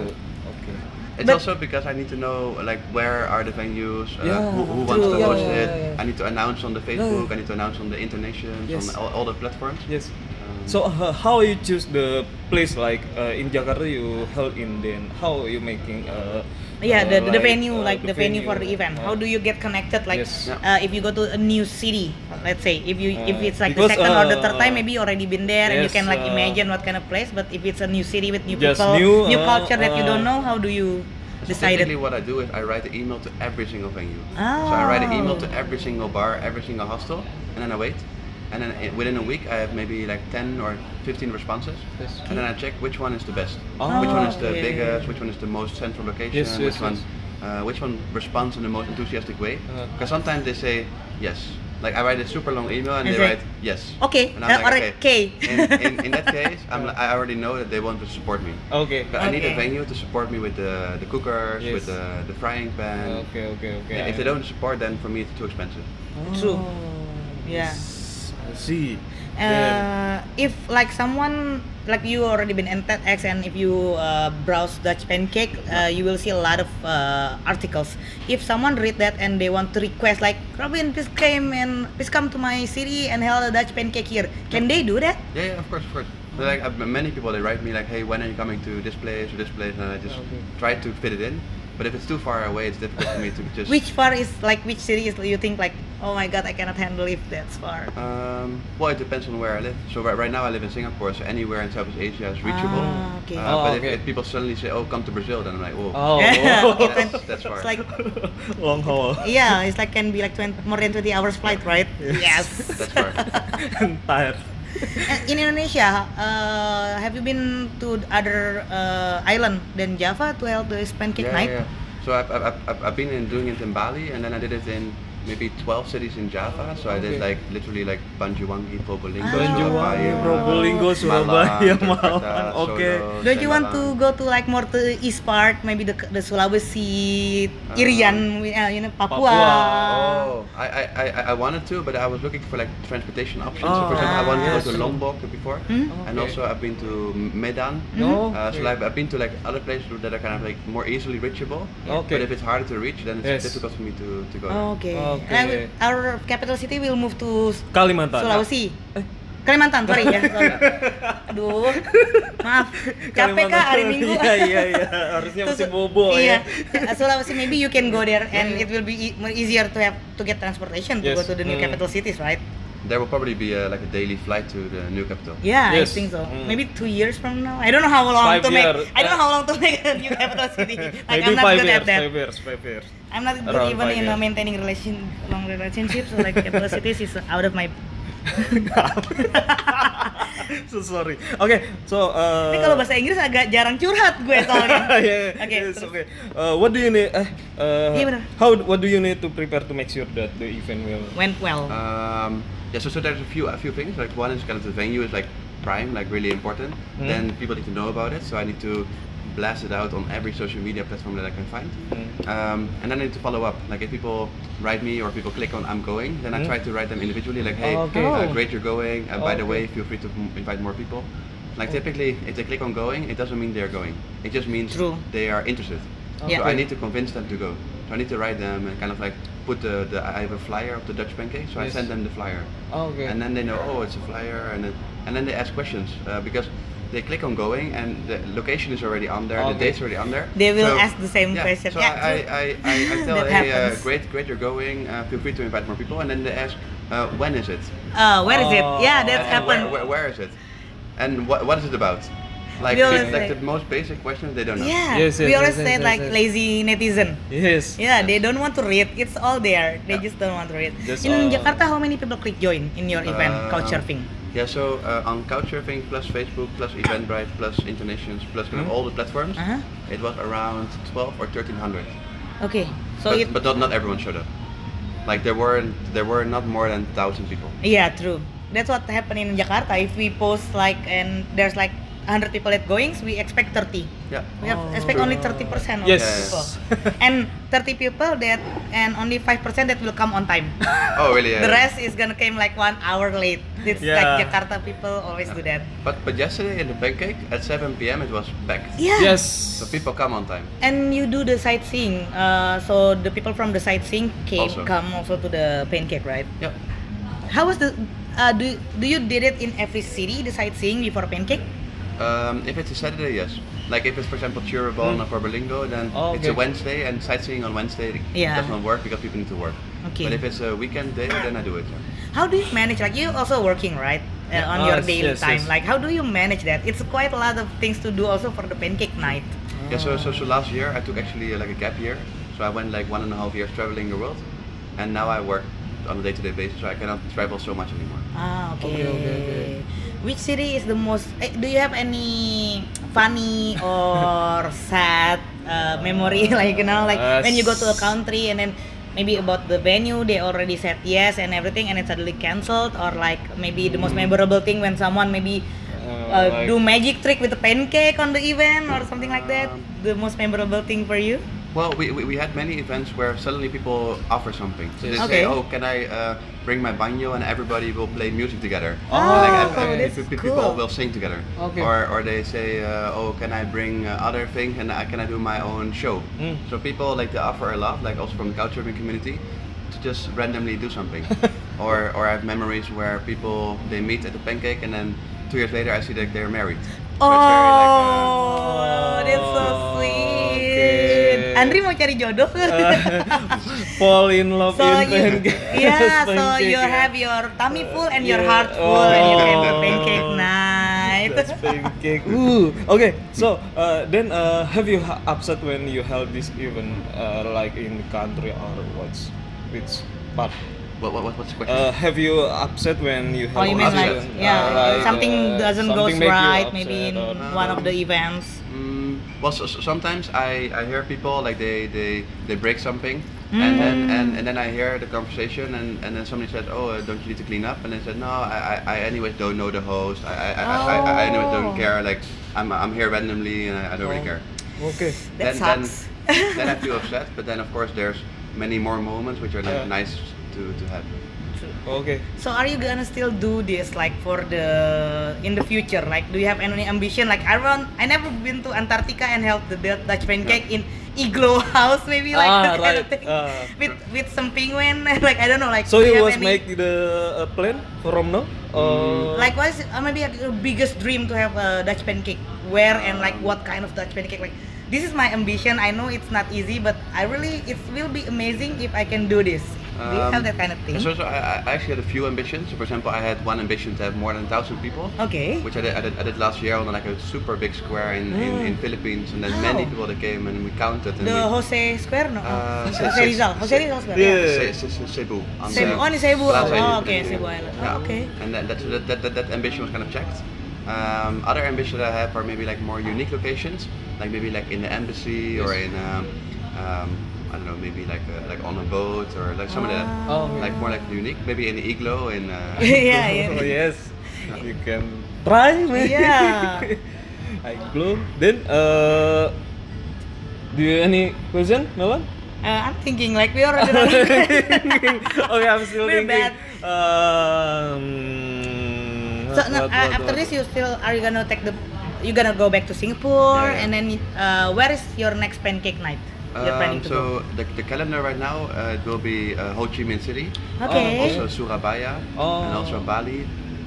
Speaker 2: Okay.
Speaker 3: It's
Speaker 1: But-
Speaker 3: also because I need to know like where are the venues, uh,
Speaker 2: Yeah,
Speaker 3: who, who wants to
Speaker 1: true.
Speaker 3: host
Speaker 2: Yeah,
Speaker 3: it.
Speaker 2: yeah, yeah.
Speaker 3: I need to announce on the Facebook. I need to announce on the internations,
Speaker 2: Yes.
Speaker 3: on all, all the platforms.
Speaker 2: Yes.
Speaker 3: Um,
Speaker 2: So uh, how you choose the place like uh, in Jakarta you held in then how you making uh,
Speaker 1: yeah
Speaker 2: uh,
Speaker 1: the, the venue
Speaker 2: uh,
Speaker 1: like the, venue, for the event how do you get connected like
Speaker 2: Yes.
Speaker 3: Yeah.
Speaker 1: uh, if you go to a new city let's say if you if
Speaker 2: Uh,
Speaker 1: it's like
Speaker 2: because,
Speaker 1: the second or the third
Speaker 2: uh,
Speaker 1: time maybe you already been there and you
Speaker 2: yes,
Speaker 1: can like
Speaker 2: uh,
Speaker 1: imagine what kind of place but if it's a new city with new
Speaker 2: Just
Speaker 1: people
Speaker 2: new, uh,
Speaker 1: culture that you don't
Speaker 2: uh,
Speaker 1: know how do you
Speaker 3: So
Speaker 1: decide it
Speaker 3: Basically, what I do is I write an email to every single venue. So I write an email to
Speaker 1: Oh.
Speaker 3: every single bar, every single hostel, and then I wait. And then i- within a week, I have maybe like 10 or 15 responses.
Speaker 2: Yes.
Speaker 3: And then I check which one is the best.
Speaker 2: Oh,
Speaker 3: which one is the
Speaker 1: okay.
Speaker 3: biggest, which one is the most central location,
Speaker 2: Yes, yes,
Speaker 3: which one
Speaker 2: yes.
Speaker 3: uh, which one responds in the most enthusiastic way.
Speaker 2: Uh.
Speaker 3: Because sometimes they say yes. Like I write a super long email and
Speaker 1: Is
Speaker 3: they
Speaker 1: it-
Speaker 3: write yes.
Speaker 1: Okay,
Speaker 3: And
Speaker 1: uh, alright, okay.
Speaker 3: In, in, in that case, I'm, li- I already know that they want to support me.
Speaker 2: Okay.
Speaker 3: But I need a
Speaker 1: Okay.
Speaker 3: venue to support me with the, the cookers,
Speaker 2: Yes.
Speaker 3: with the, the frying pan.
Speaker 2: Okay, okay, okay.
Speaker 3: If they don't support, then for me it's too expensive.
Speaker 1: True. Yeah.
Speaker 2: Oh, Yes. I see. Then-
Speaker 1: uh, if like someone like you already been in TEDx and if you uh, browse Dutch Pancake, uh, you will see a lot of uh, articles. If someone read that and they want to request like Robin, please came and please come to my city and held a Dutch Pancake here, can they do that?
Speaker 3: Yeah, yeah, of course, of course. But, Like uh, many people, they write me like, "Hey, when are you coming to this place or this place?" And I just
Speaker 2: Okay.
Speaker 3: try to fit it in. But if it's too far away, it's difficult for me to just.
Speaker 1: Which far is like which city is you think like oh my god I cannot handle if that's far.
Speaker 3: Um, well, it depends on where I live. So right, right now I live in Singapore, so anywhere in Southeast Asia is reachable.
Speaker 1: Ah, okay.
Speaker 3: Uh,
Speaker 2: Oh,
Speaker 3: but
Speaker 2: okay.
Speaker 3: if, if people suddenly say, "Oh, come to Brazil," then I'm like, "Oh,
Speaker 2: Oh.
Speaker 1: It-
Speaker 3: That's- that's far.
Speaker 1: it's like
Speaker 2: Long haul.
Speaker 1: yeah, it's like can be like 20, more than 20 hours flight, right? yes.
Speaker 3: that's far."
Speaker 2: And tired.
Speaker 1: Uh, in Indonesia, uh, have you been to other uh, island than Java to help this pancake night?
Speaker 3: So I've, I've, I've, I've been in doing it in Bali, and then I did it in maybe 12 cities in Java. So I
Speaker 2: Okay.
Speaker 3: did like literally like Banjuwangi, Probolinggo,
Speaker 2: Banjuwangi,
Speaker 3: Surabaya,
Speaker 2: Probolinggo, Surabaya, ya,
Speaker 3: Malang,
Speaker 2: Malang.
Speaker 3: Jakarta,
Speaker 2: Okay.
Speaker 3: Solo,
Speaker 1: Don't you want to
Speaker 3: Tembalang.
Speaker 1: go to like more to East Part, maybe the the Sulawesi,
Speaker 3: Uh,
Speaker 1: Irian, uh, you know Papua?
Speaker 2: Papua.
Speaker 3: Oh, I, I, I, I wanted to, but I was looking for like transportation options. so
Speaker 2: Oh, Mm.
Speaker 3: for example, I wanted to
Speaker 1: yes.
Speaker 3: go to Lombok before,
Speaker 1: Hmm?
Speaker 3: and
Speaker 2: Okay.
Speaker 3: also I've been to Medan.
Speaker 2: No.
Speaker 3: Uh, so I've, I've been to like other places that are kind of like more easily reachable.
Speaker 2: Okay.
Speaker 3: But if it's harder to reach, then
Speaker 2: Yes.
Speaker 3: it's
Speaker 2: Oh.
Speaker 3: difficult for me to, to go. there.
Speaker 1: Okay. And
Speaker 2: Okay.
Speaker 1: I will- our capital city will move to S-
Speaker 2: Kalimantan. Eh.
Speaker 1: Sulawesi. Kalimantan, sorry ya. sorry. Aduh, maaf. Capek
Speaker 2: Kalimantan.
Speaker 1: kak hari Minggu.
Speaker 2: Iya, iya, iya. Harusnya
Speaker 1: Terus,
Speaker 2: masih bobo
Speaker 1: iya.
Speaker 2: ya.
Speaker 1: Uh, Sulawesi, maybe you can go there and it will be e- more easier to have to get transportation to
Speaker 2: Yes.
Speaker 1: go to the new
Speaker 2: Mm.
Speaker 1: capital cities, right?
Speaker 3: There will probably be uh, like a daily flight to the new capital.
Speaker 1: Yeah, I
Speaker 2: Yes.
Speaker 1: think so.
Speaker 2: Mm.
Speaker 1: Maybe two years from now. I don't know how long
Speaker 2: Five
Speaker 1: to
Speaker 2: year.
Speaker 1: make. I don't know how long to make a new capital city. Like
Speaker 2: Maybe
Speaker 1: I'm not
Speaker 2: five
Speaker 1: good
Speaker 2: years,
Speaker 1: at that.
Speaker 2: five years, five years.
Speaker 1: I'm not good
Speaker 2: Around
Speaker 1: even
Speaker 2: five
Speaker 1: in
Speaker 2: years.
Speaker 1: uh, maintaining relation long relationships. So like capital cities is out of my.
Speaker 2: so sorry. Oke, so uh,
Speaker 1: Tapi kalau bahasa Inggris agak jarang curhat gue soalnya.
Speaker 2: yeah,
Speaker 1: Oke,
Speaker 2: yes,
Speaker 1: terus.
Speaker 2: okay. Uh, what do you need? Eh, uh,
Speaker 1: Iya, benar.
Speaker 2: how what do you need to prepare to make sure that the event will?
Speaker 1: Went well.
Speaker 3: Um, yeah, so, so there's a few a few things. Like one is kind of the venue is like prime, like really important.
Speaker 2: Hmm.
Speaker 3: Then people need to know about it, so I need to blast it out on every social media platform that I can find.
Speaker 2: Hmm.
Speaker 3: Um, and then I need to follow up. Like if people write me or people click on I'm going, then
Speaker 2: Hmm.
Speaker 3: I try to write them individually. Like hey,
Speaker 2: Oh, okay.
Speaker 3: uh,
Speaker 1: Oh.
Speaker 3: great you're going. Uh, by
Speaker 2: Okay.
Speaker 3: the
Speaker 2: Oh.
Speaker 3: way, feel free to m- invite more people. Like typically, if they click on going, it doesn't mean they're going. It just means
Speaker 1: True.
Speaker 3: they are interested.
Speaker 1: Yeah.
Speaker 2: Oh.
Speaker 3: So I need to convince them to go. So I need to write them and kind of like put the, the I have a flyer of the Dutch pancake, so
Speaker 2: Yes.
Speaker 3: I send them the flyer.
Speaker 2: Oh, okay.
Speaker 3: And then they know, oh, it's a flyer, and then, and then they ask questions uh, because they click on going, and the location is already on there, the
Speaker 2: Okay.
Speaker 3: date's already on there.
Speaker 1: They will
Speaker 3: So-
Speaker 1: ask the same
Speaker 3: yeah,
Speaker 1: question.
Speaker 3: So
Speaker 1: Yeah,
Speaker 3: I,
Speaker 1: true.
Speaker 3: I, I, I tell,
Speaker 1: That
Speaker 3: hey, uh,
Speaker 1: happens.
Speaker 3: great, great, you're going. Uh, feel free to invite more people, and then they ask, uh, when is it?
Speaker 1: Uh, where is it? Yeah,
Speaker 2: Oh,
Speaker 1: that
Speaker 3: and, and
Speaker 1: happened.
Speaker 3: Where, where, where is it? And what, what is it about? Like,
Speaker 1: We always
Speaker 3: it's like
Speaker 1: like-
Speaker 3: the most basic questions they don't know.
Speaker 1: Yeah,
Speaker 2: Yes, yes,
Speaker 1: we
Speaker 2: yes,
Speaker 1: always
Speaker 2: yes,
Speaker 1: say
Speaker 2: yes,
Speaker 1: like
Speaker 2: yes.
Speaker 1: lazy netizen.
Speaker 2: Yes.
Speaker 1: Yeah, they don't want to read. It's all there. They
Speaker 3: Yeah.
Speaker 1: just don't want to read.
Speaker 2: That's
Speaker 1: in
Speaker 2: all.
Speaker 1: Jakarta, how many people click join in your event
Speaker 3: Um,
Speaker 1: Couchsurfing?
Speaker 3: Yeah, so uh, on Couchsurfing plus Facebook plus Eventbrite plus Internations plus kind of all the platforms,
Speaker 1: Uh-huh.
Speaker 3: it was around 12 or 1300.
Speaker 1: Okay, so
Speaker 3: but,
Speaker 1: it
Speaker 3: but not, not everyone showed up. Like there weren't there were not more than thousand people.
Speaker 1: yeah true. That's what happened in Jakarta. If we post like and there's like 100 people at goings, we expect 30.
Speaker 3: Yeah.
Speaker 1: We have expect only 30 percent of
Speaker 2: Yes.
Speaker 1: the people, and 30 people that and only 5 percent that will come on time.
Speaker 3: Oh really? Yeah.
Speaker 1: The rest is gonna come like one hour late. It's
Speaker 2: Yeah.
Speaker 1: like Jakarta people always do that.
Speaker 3: But but yesterday in the pancake at 7 p.m. it was packed.
Speaker 1: Yeah.
Speaker 2: Yes.
Speaker 3: So people come on time.
Speaker 1: And you do the sightseeing, uh, so the people from the sightseeing came
Speaker 3: Also.
Speaker 1: come also to the pancake, right?
Speaker 3: Yeah.
Speaker 1: How was the uh, do do you did it in every city the sightseeing before pancake?
Speaker 3: Um, if it's a Saturday, yes. Like if it's for example Chirabon
Speaker 1: Hmm.
Speaker 3: or Borbolingo, then
Speaker 2: Oh,
Speaker 3: it's a
Speaker 2: okay.
Speaker 3: Wednesday and sightseeing on Wednesday
Speaker 1: Yeah.
Speaker 3: does not work because people need to work.
Speaker 1: Okay.
Speaker 3: But if it's a weekend day, then I do it. yeah.
Speaker 1: How do you manage? Like you also working right uh, on
Speaker 2: Ah,
Speaker 1: your
Speaker 2: yes,
Speaker 1: daily
Speaker 2: yes,
Speaker 1: time.
Speaker 2: yes.
Speaker 1: Like how do you manage that? It's quite a lot of things to do also for the pancake night.
Speaker 3: Yeah, so, so, so last year I took actually uh, like a gap year. So I went like one and a half years traveling the world. And now I work on a day to day basis, so I cannot travel so much anymore.
Speaker 1: Ah, okay.
Speaker 2: Okay, okay, okay.
Speaker 1: Which city is the most? eh, do you have any funny or sad uh, memory? like you know, like
Speaker 2: Uh,
Speaker 1: when you go to a country and then maybe about the venue they already said yes and everything and it suddenly cancelled or like maybe the most memorable thing when someone maybe uh,
Speaker 2: Hmm. Uh, like-
Speaker 1: do magic trick with a pancake on the event or something like that.
Speaker 3: Um,
Speaker 2: Uh,
Speaker 1: The most memorable thing for you?
Speaker 3: Well, we, we, we had many events where suddenly people offer something. So they
Speaker 2: Yes.
Speaker 1: Okay.
Speaker 3: say, oh, can I uh, bring my banjo and everybody will play music together.
Speaker 2: Oh,
Speaker 3: So, like,
Speaker 2: okay.
Speaker 1: that's
Speaker 3: pe- pe-
Speaker 1: cool.
Speaker 3: People will sing together.
Speaker 2: Okay.
Speaker 3: Or, or they say, uh, oh, can I bring uh, other things and I, can I do my own show?
Speaker 2: Mm.
Speaker 3: So people like they offer a lot, like also from the couchsurfing community, to just randomly do something. or, or I have memories where people, they meet at the pancake and then two years later I see that they're married. So it's very like, uh,
Speaker 1: Oh, that's so
Speaker 2: Oh,
Speaker 1: sweet.
Speaker 2: okay. Uh,
Speaker 1: Andri mau cari jodoh.
Speaker 2: fall in love
Speaker 1: so
Speaker 2: in
Speaker 1: you,
Speaker 2: pancake.
Speaker 1: yeah, so
Speaker 2: Pancake,
Speaker 1: you
Speaker 2: yeah.
Speaker 1: have your tummy full and your
Speaker 2: Yeah.
Speaker 1: heart full, and you have your
Speaker 2: Oh.
Speaker 1: pancake night.
Speaker 2: That's pancake. Ooh. Okay. So uh, then, uh, have you ha- upset when you held this event, uh, like in country or what's which part?
Speaker 3: what, what, what's the question?
Speaker 2: Uh, have you upset when you
Speaker 1: Oh,
Speaker 2: held
Speaker 1: you mean
Speaker 2: this
Speaker 1: like,
Speaker 2: event?
Speaker 1: yeah,
Speaker 2: Uh, like,
Speaker 1: something
Speaker 2: uh,
Speaker 1: doesn't
Speaker 2: something
Speaker 1: go
Speaker 2: make you
Speaker 1: right, maybe in
Speaker 2: upset or-
Speaker 1: one of the events.
Speaker 3: Mm, well, so, so sometimes I, I hear people like they they, they break something,
Speaker 1: Mm.
Speaker 3: and then and, and then I hear the conversation, and, and then somebody says, oh, uh, don't you need to clean up? And I said, no, I I, I anyways don't know the host. I I, I, I, I anyways
Speaker 1: Oh.
Speaker 3: don't care. Like I'm, I'm here randomly, and I, I don't really care.
Speaker 2: Okay.
Speaker 1: That
Speaker 3: then,
Speaker 1: sucks.
Speaker 3: Then, then I feel upset, but then of course there's many more moments which are like
Speaker 2: Yeah.
Speaker 3: nice to, to have.
Speaker 2: Okay.
Speaker 1: So are you gonna still do this like for the in the future? Like do you have any ambition? Like I want I never been to Antarctica and help the Dut- Dutch pancake in igloo house maybe like
Speaker 2: Ah,
Speaker 1: that kind of
Speaker 2: right.
Speaker 1: thing
Speaker 2: Ah.
Speaker 1: with with some penguin like I don't know like
Speaker 2: So
Speaker 1: do
Speaker 2: you
Speaker 1: have
Speaker 2: was
Speaker 1: any-
Speaker 2: make the uh, plan from now? Or
Speaker 1: like what's uh, maybe your biggest dream to have a Dutch pancake where and like what kind of Dutch pancake like this is my ambition I know it's not easy but I really it will be amazing if I can do this do you
Speaker 3: Um,
Speaker 1: have that kind of thing
Speaker 3: So, so I, I actually had a few ambitions. So for example, I had one ambition to have more than thousand people.
Speaker 1: okay
Speaker 3: which I did, I did, I did last year on like a super big square in, in, in Philippines, and then
Speaker 1: Wow.
Speaker 3: many people that came and we counted and
Speaker 1: the
Speaker 3: we
Speaker 1: Jose Square Ah. no
Speaker 3: Uh,
Speaker 1: Jose
Speaker 3: Se- Se-
Speaker 1: Rizal
Speaker 3: Se-
Speaker 1: Jose Rizal Square
Speaker 2: Yeah.
Speaker 3: Se- Se- Se- Cebu. on
Speaker 1: Cebu.
Speaker 3: the
Speaker 1: Oh, in Cebu.
Speaker 3: Plaza
Speaker 1: Oh,
Speaker 3: Ilocos.
Speaker 1: okay, Cebu Island. Oh, okay.
Speaker 3: And that, that, that, that, that, that ambition was kind of checked. Um, other ambition that I have are maybe like more unique locations, like maybe like in the embassy or in um, um, I don't know, maybe like uh, like on a boat or like some of that,
Speaker 1: Um,
Speaker 2: Oh, okay.
Speaker 3: like more like unique, maybe in the igloo in. Uh,
Speaker 1: Ah. yeah yeah, yeah.
Speaker 2: Oh, yes, you can try, man.
Speaker 1: Yeah.
Speaker 2: I glue. Then, uh, do you any question, Nolan?
Speaker 1: Uh, I'm thinking like we already know.
Speaker 2: okay, I'm still
Speaker 1: We're
Speaker 2: thinking.
Speaker 1: bad.
Speaker 2: Um,
Speaker 1: so
Speaker 2: what,
Speaker 1: no,
Speaker 2: what,
Speaker 1: uh,
Speaker 2: what,
Speaker 1: after
Speaker 2: what?
Speaker 1: this you still are you gonna take the you gonna go back to Singapore
Speaker 3: Yeah, yeah.
Speaker 1: and then uh, where is your next pancake night you're planning
Speaker 3: Um,
Speaker 1: to
Speaker 3: so the, the calendar right now uh, it will be uh, Ho Chi Minh City, Um,
Speaker 1: go okay
Speaker 3: also Surabaya,
Speaker 2: Oh.
Speaker 3: and also Bali,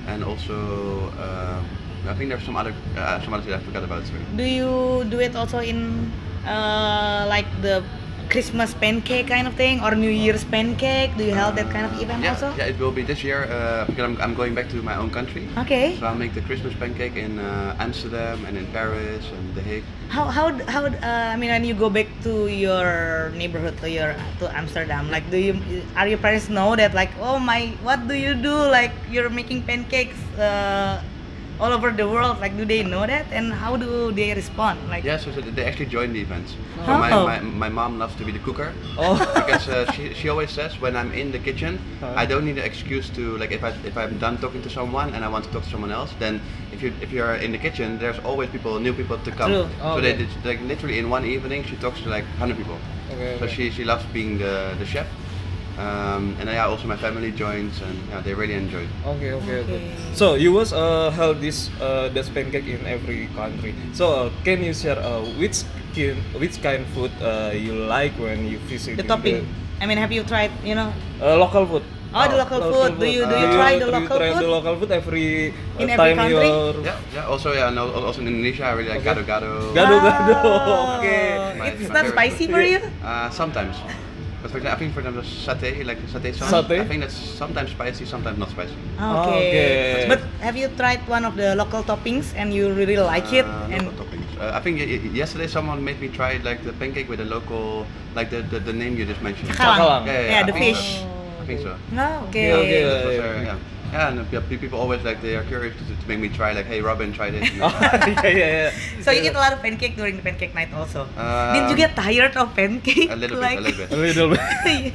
Speaker 3: and also um, I think there's some other uh, some other thing I forgot about. Sorry.
Speaker 1: Do you do it also in uh, like the Christmas pancake kind of thing or New Year's pancake? Do you held that kind of event
Speaker 3: Uh, yeah,
Speaker 1: also?
Speaker 3: Yeah, it will be this year uh, because I'm, I'm going back to my own country.
Speaker 1: Okay.
Speaker 3: So I'll make the Christmas pancake in uh, Amsterdam and in Paris and The Hague.
Speaker 1: How how how? Uh, I mean, when you go back to your neighborhood to your to Amsterdam, like, do you are your parents know that like, oh my, what do you do? Like, you're making pancakes uh, all over the world. Like, do they know that? And how do they respond? Like,
Speaker 3: Yeah, so, so they actually join the events. So
Speaker 1: Oh.
Speaker 3: my, my, my mom loves to be the cooker.
Speaker 2: Oh.
Speaker 3: because uh, she, she always says when I'm in the kitchen, I don't need an excuse to like if I if I'm done talking to someone and I want to talk to someone else, then if you if you're in the kitchen, there's always people new people to come.
Speaker 1: True.
Speaker 2: Oh,
Speaker 3: so they
Speaker 2: okay.
Speaker 3: did, like literally in one evening she talks to like hundred people.
Speaker 2: Okay,
Speaker 3: So
Speaker 2: okay.
Speaker 3: she she loves being the the chef, um, and yeah, also my family joins and yeah, they really enjoy. it.
Speaker 2: Okay, okay, okay.
Speaker 1: Okay.
Speaker 2: So you was uh, held this uh, Dutch pancake in every country. So uh, can you share uh, which kin which kind food uh, you like when you visit
Speaker 1: the topping. I mean, have you tried? You know,
Speaker 2: uh, local food.
Speaker 1: Oh,
Speaker 2: Ah.
Speaker 1: the local food. Do you- do you try the local
Speaker 2: try
Speaker 1: food?
Speaker 2: the local food every uh,
Speaker 1: In every
Speaker 2: time
Speaker 1: country?
Speaker 2: you're
Speaker 3: Yeah, yeah. Also yeah, and al- also in Indonesia I really like
Speaker 2: Okay.
Speaker 3: gado gado.
Speaker 2: Gado- Gado-gado,
Speaker 1: Oh,
Speaker 2: okay.
Speaker 1: It's
Speaker 3: My-
Speaker 1: not
Speaker 3: my
Speaker 1: spicy
Speaker 3: favorite.
Speaker 1: for you?
Speaker 3: Uh, sometimes. But for example, I think for example satay, like satay sauce.
Speaker 2: Satay?
Speaker 3: I think that's sometimes spicy, sometimes not spicy.
Speaker 1: Okay.
Speaker 2: Okay.
Speaker 1: But have you tried one of the local toppings and you really like it?
Speaker 3: Uh,
Speaker 1: and
Speaker 3: local toppings. Uh, I think y- y- yesterday someone made me try like the pancake with the local, like the the, the name you just mentioned.
Speaker 1: Kalang.
Speaker 2: Kalang.
Speaker 3: Yeah, yeah,
Speaker 1: Yeah,
Speaker 3: I
Speaker 1: the
Speaker 3: think
Speaker 1: fish.
Speaker 3: so. I think so.
Speaker 1: Oh, okay.
Speaker 2: Yeah, okay.
Speaker 3: That was,
Speaker 2: yeah,
Speaker 3: uh,
Speaker 2: yeah.
Speaker 3: yeah. Yeah, and uh, pe- people always like they are curious to, to make me try like, hey Robin, try this. And, uh,
Speaker 2: yeah, yeah, yeah.
Speaker 1: So you eat a lot of pancake during the pancake night also.
Speaker 3: Uh,
Speaker 1: Did you get tired of pancake?
Speaker 3: a little bit,
Speaker 1: like,
Speaker 3: a little bit.
Speaker 2: a little bit.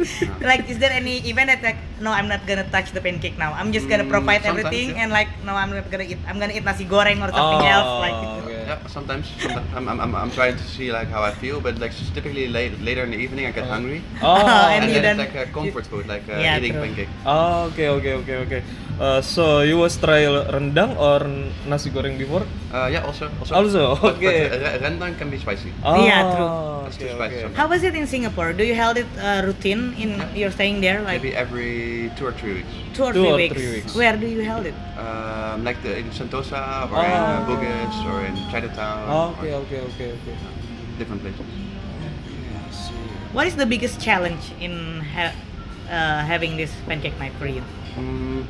Speaker 1: like, is there any event that like, no, I'm not gonna touch the pancake now. I'm just gonna
Speaker 3: Mm,
Speaker 1: provide
Speaker 3: sometimes,
Speaker 1: everything and
Speaker 3: yeah.
Speaker 1: like, no, I'm not gonna eat. I'm gonna eat nasi goreng or something else. Like,
Speaker 2: Oh, okay.
Speaker 3: Yeah, sometimes, sometimes I'm, I'm, I'm, I'm trying to see like how I feel, but like typically late, later in the evening I get hungry,
Speaker 2: Oh,
Speaker 1: And
Speaker 3: and,
Speaker 1: you
Speaker 3: then
Speaker 1: don't-
Speaker 3: it's like a comfort food, like uh,
Speaker 1: Yeah,
Speaker 3: eating
Speaker 1: true.
Speaker 3: pancake.
Speaker 2: Oh, okay, okay, okay, okay. Uh, so you was try rendang or nasi goreng before?
Speaker 3: Uh, yeah, also, also.
Speaker 2: Also,
Speaker 3: But-
Speaker 2: okay.
Speaker 3: But, uh, rendang can be spicy.
Speaker 2: Oh,
Speaker 1: Yeah, true.
Speaker 3: That's
Speaker 2: Okay,
Speaker 3: too spicy
Speaker 2: okay.
Speaker 3: sometimes.
Speaker 1: How was it in Singapore? Do you held it uh, routine in your staying there, like
Speaker 3: Maybe every two or three weeks.
Speaker 1: two, or,
Speaker 2: Two
Speaker 1: three,
Speaker 2: or
Speaker 1: weeks.
Speaker 2: three weeks.
Speaker 1: Where do you held it?
Speaker 3: Um, like the, in Sentosa or in uh, Bugis or in Chinatown.
Speaker 2: Ah. Oh,
Speaker 3: or
Speaker 2: okay, okay, okay, okay.
Speaker 3: Different places.
Speaker 1: What is the biggest challenge in ha- uh, having this pancake night for you?
Speaker 3: Mm,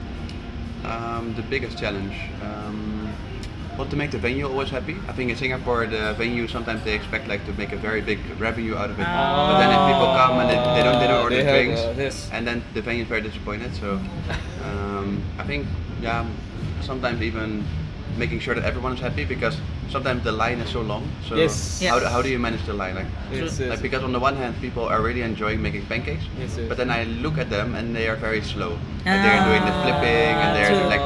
Speaker 3: um, the biggest challenge. Um, well, to make the venue always happy. I think in Singapore, the venue sometimes they expect like to make a very big revenue out of it. But then if people come and they, they don't, they don't order
Speaker 2: Oh. They have,
Speaker 3: drinks,
Speaker 2: uh, this.
Speaker 3: and then the venue is very disappointed. So um, I think yeah, sometimes even making sure that everyone is happy because sometimes the line is so long. So
Speaker 2: Yes.
Speaker 3: how,
Speaker 1: Yes.
Speaker 3: do, how do you manage the line? Like,
Speaker 2: Yes, yes.
Speaker 3: like because on the one hand, people are really enjoying making pancakes,
Speaker 2: Yes, yes.
Speaker 3: but then I look at them and they are very slow. And they're doing the
Speaker 1: Ah,
Speaker 3: flipping and they're
Speaker 1: true.
Speaker 3: like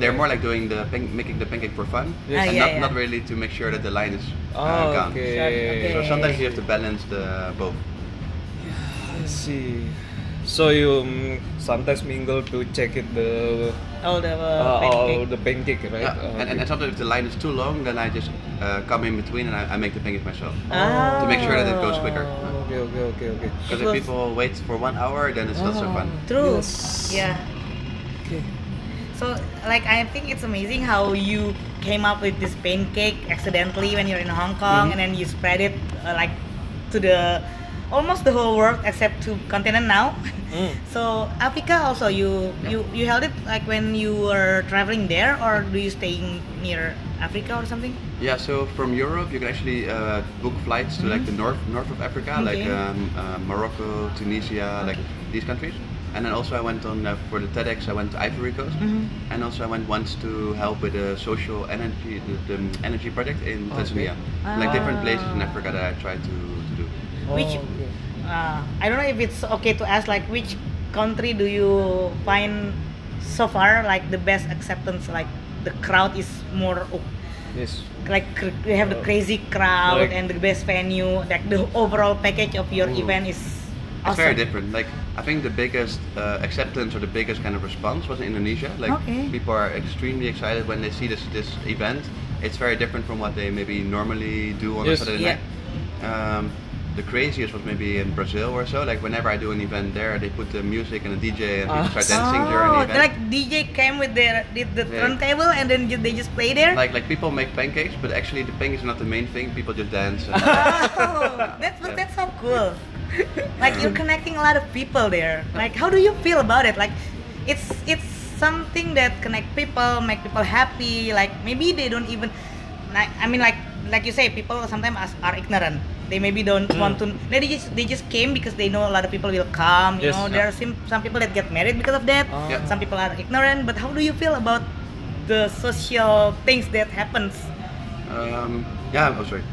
Speaker 3: they're more like doing the pan- making the pancake for fun
Speaker 2: Yes. Ah,
Speaker 3: and
Speaker 1: yeah,
Speaker 3: not,
Speaker 1: yeah.
Speaker 3: not really to make sure that the line is uh, gone.
Speaker 2: okay.
Speaker 1: Shut-
Speaker 3: So
Speaker 1: okay.
Speaker 3: sometimes you have to balance the both.
Speaker 2: I see. So you mm, sometimes mingle to check it the
Speaker 1: All the
Speaker 2: uh,
Speaker 1: uh,
Speaker 2: all
Speaker 1: pancake.
Speaker 2: the pancake, right?
Speaker 3: Yeah,
Speaker 2: Uh,
Speaker 3: and, and, and sometimes if the line is too long, then I just uh, come in between and I, I make the pancake myself
Speaker 1: Ah.
Speaker 3: to make sure that it goes quicker.
Speaker 2: Ah, Okay, okay, okay, okay.
Speaker 1: It
Speaker 3: Because if
Speaker 1: goes-
Speaker 3: people wait for one hour, then it's not so fun.
Speaker 1: True.
Speaker 2: Yes.
Speaker 1: Yeah.
Speaker 2: Okay.
Speaker 1: So like I think it's amazing how you came up with this pancake accidentally when you're in Hong Kong and then you spread it uh, like to the almost the whole world except to continent now.
Speaker 2: Mm.
Speaker 1: So Africa also you you you held it like when you were traveling there or do you staying near Africa or something?
Speaker 3: Yeah, so from Europe, you can actually uh, book flights to like the north north of Africa, like
Speaker 1: Mm-hmm. Okay.
Speaker 3: um, uh, Morocco, Tunisia, like these countries. And then also I went on uh, for the TEDx. I went to Ivory Coast, and also I went once to help with a social energy the, the energy project in Tanzania, like different places in Africa that I tried to, to do.
Speaker 1: Which-
Speaker 2: Oh, okay.
Speaker 1: Uh, I don't know if it's okay to ask like which country do you find so far like the best acceptance like the crowd is more o-
Speaker 2: Yes.
Speaker 1: like cr- you have
Speaker 3: Oh.
Speaker 1: the crazy crowd
Speaker 2: Like-
Speaker 1: and the best venue like the overall package of your
Speaker 3: Ooh.
Speaker 1: event is
Speaker 3: It's very
Speaker 1: awesome
Speaker 3: different. Like I think the biggest uh, acceptance or the biggest kind of response was in Indonesia. Like
Speaker 1: Okay.
Speaker 3: people are extremely excited when they see this this event. It's very different from what they maybe normally do on
Speaker 2: Yes.
Speaker 3: a Saturday
Speaker 1: Yeah.
Speaker 3: night. Um, the craziest was maybe in Brazil or so. Like whenever I do an event there, they put the music and the DJ and
Speaker 2: Ah.
Speaker 3: people start dancing during the event.
Speaker 1: Oh, like DJ came with their did the
Speaker 3: Yeah.
Speaker 1: turntable and then ju- they just play there.
Speaker 3: like like people make pancakes, but actually the pancakes are not the main thing. People just dance. And,
Speaker 1: oh, that's but that's so cool. like you're connecting a lot of people there. Like how do you feel about it? Like it's it's something that connect people, make people happy. Like maybe they don't even like I mean like like you say people sometimes as- are ignorant. They maybe don't
Speaker 2: Hmm.
Speaker 1: want to. They just they just came because they know a lot of people will come. You
Speaker 2: Yes.
Speaker 1: know there are some some people that get married because of that.
Speaker 2: Ah.
Speaker 3: Yeah.
Speaker 1: Some people are ignorant. But how do you feel about the social things that happens?
Speaker 3: um, yeah, oh sorry.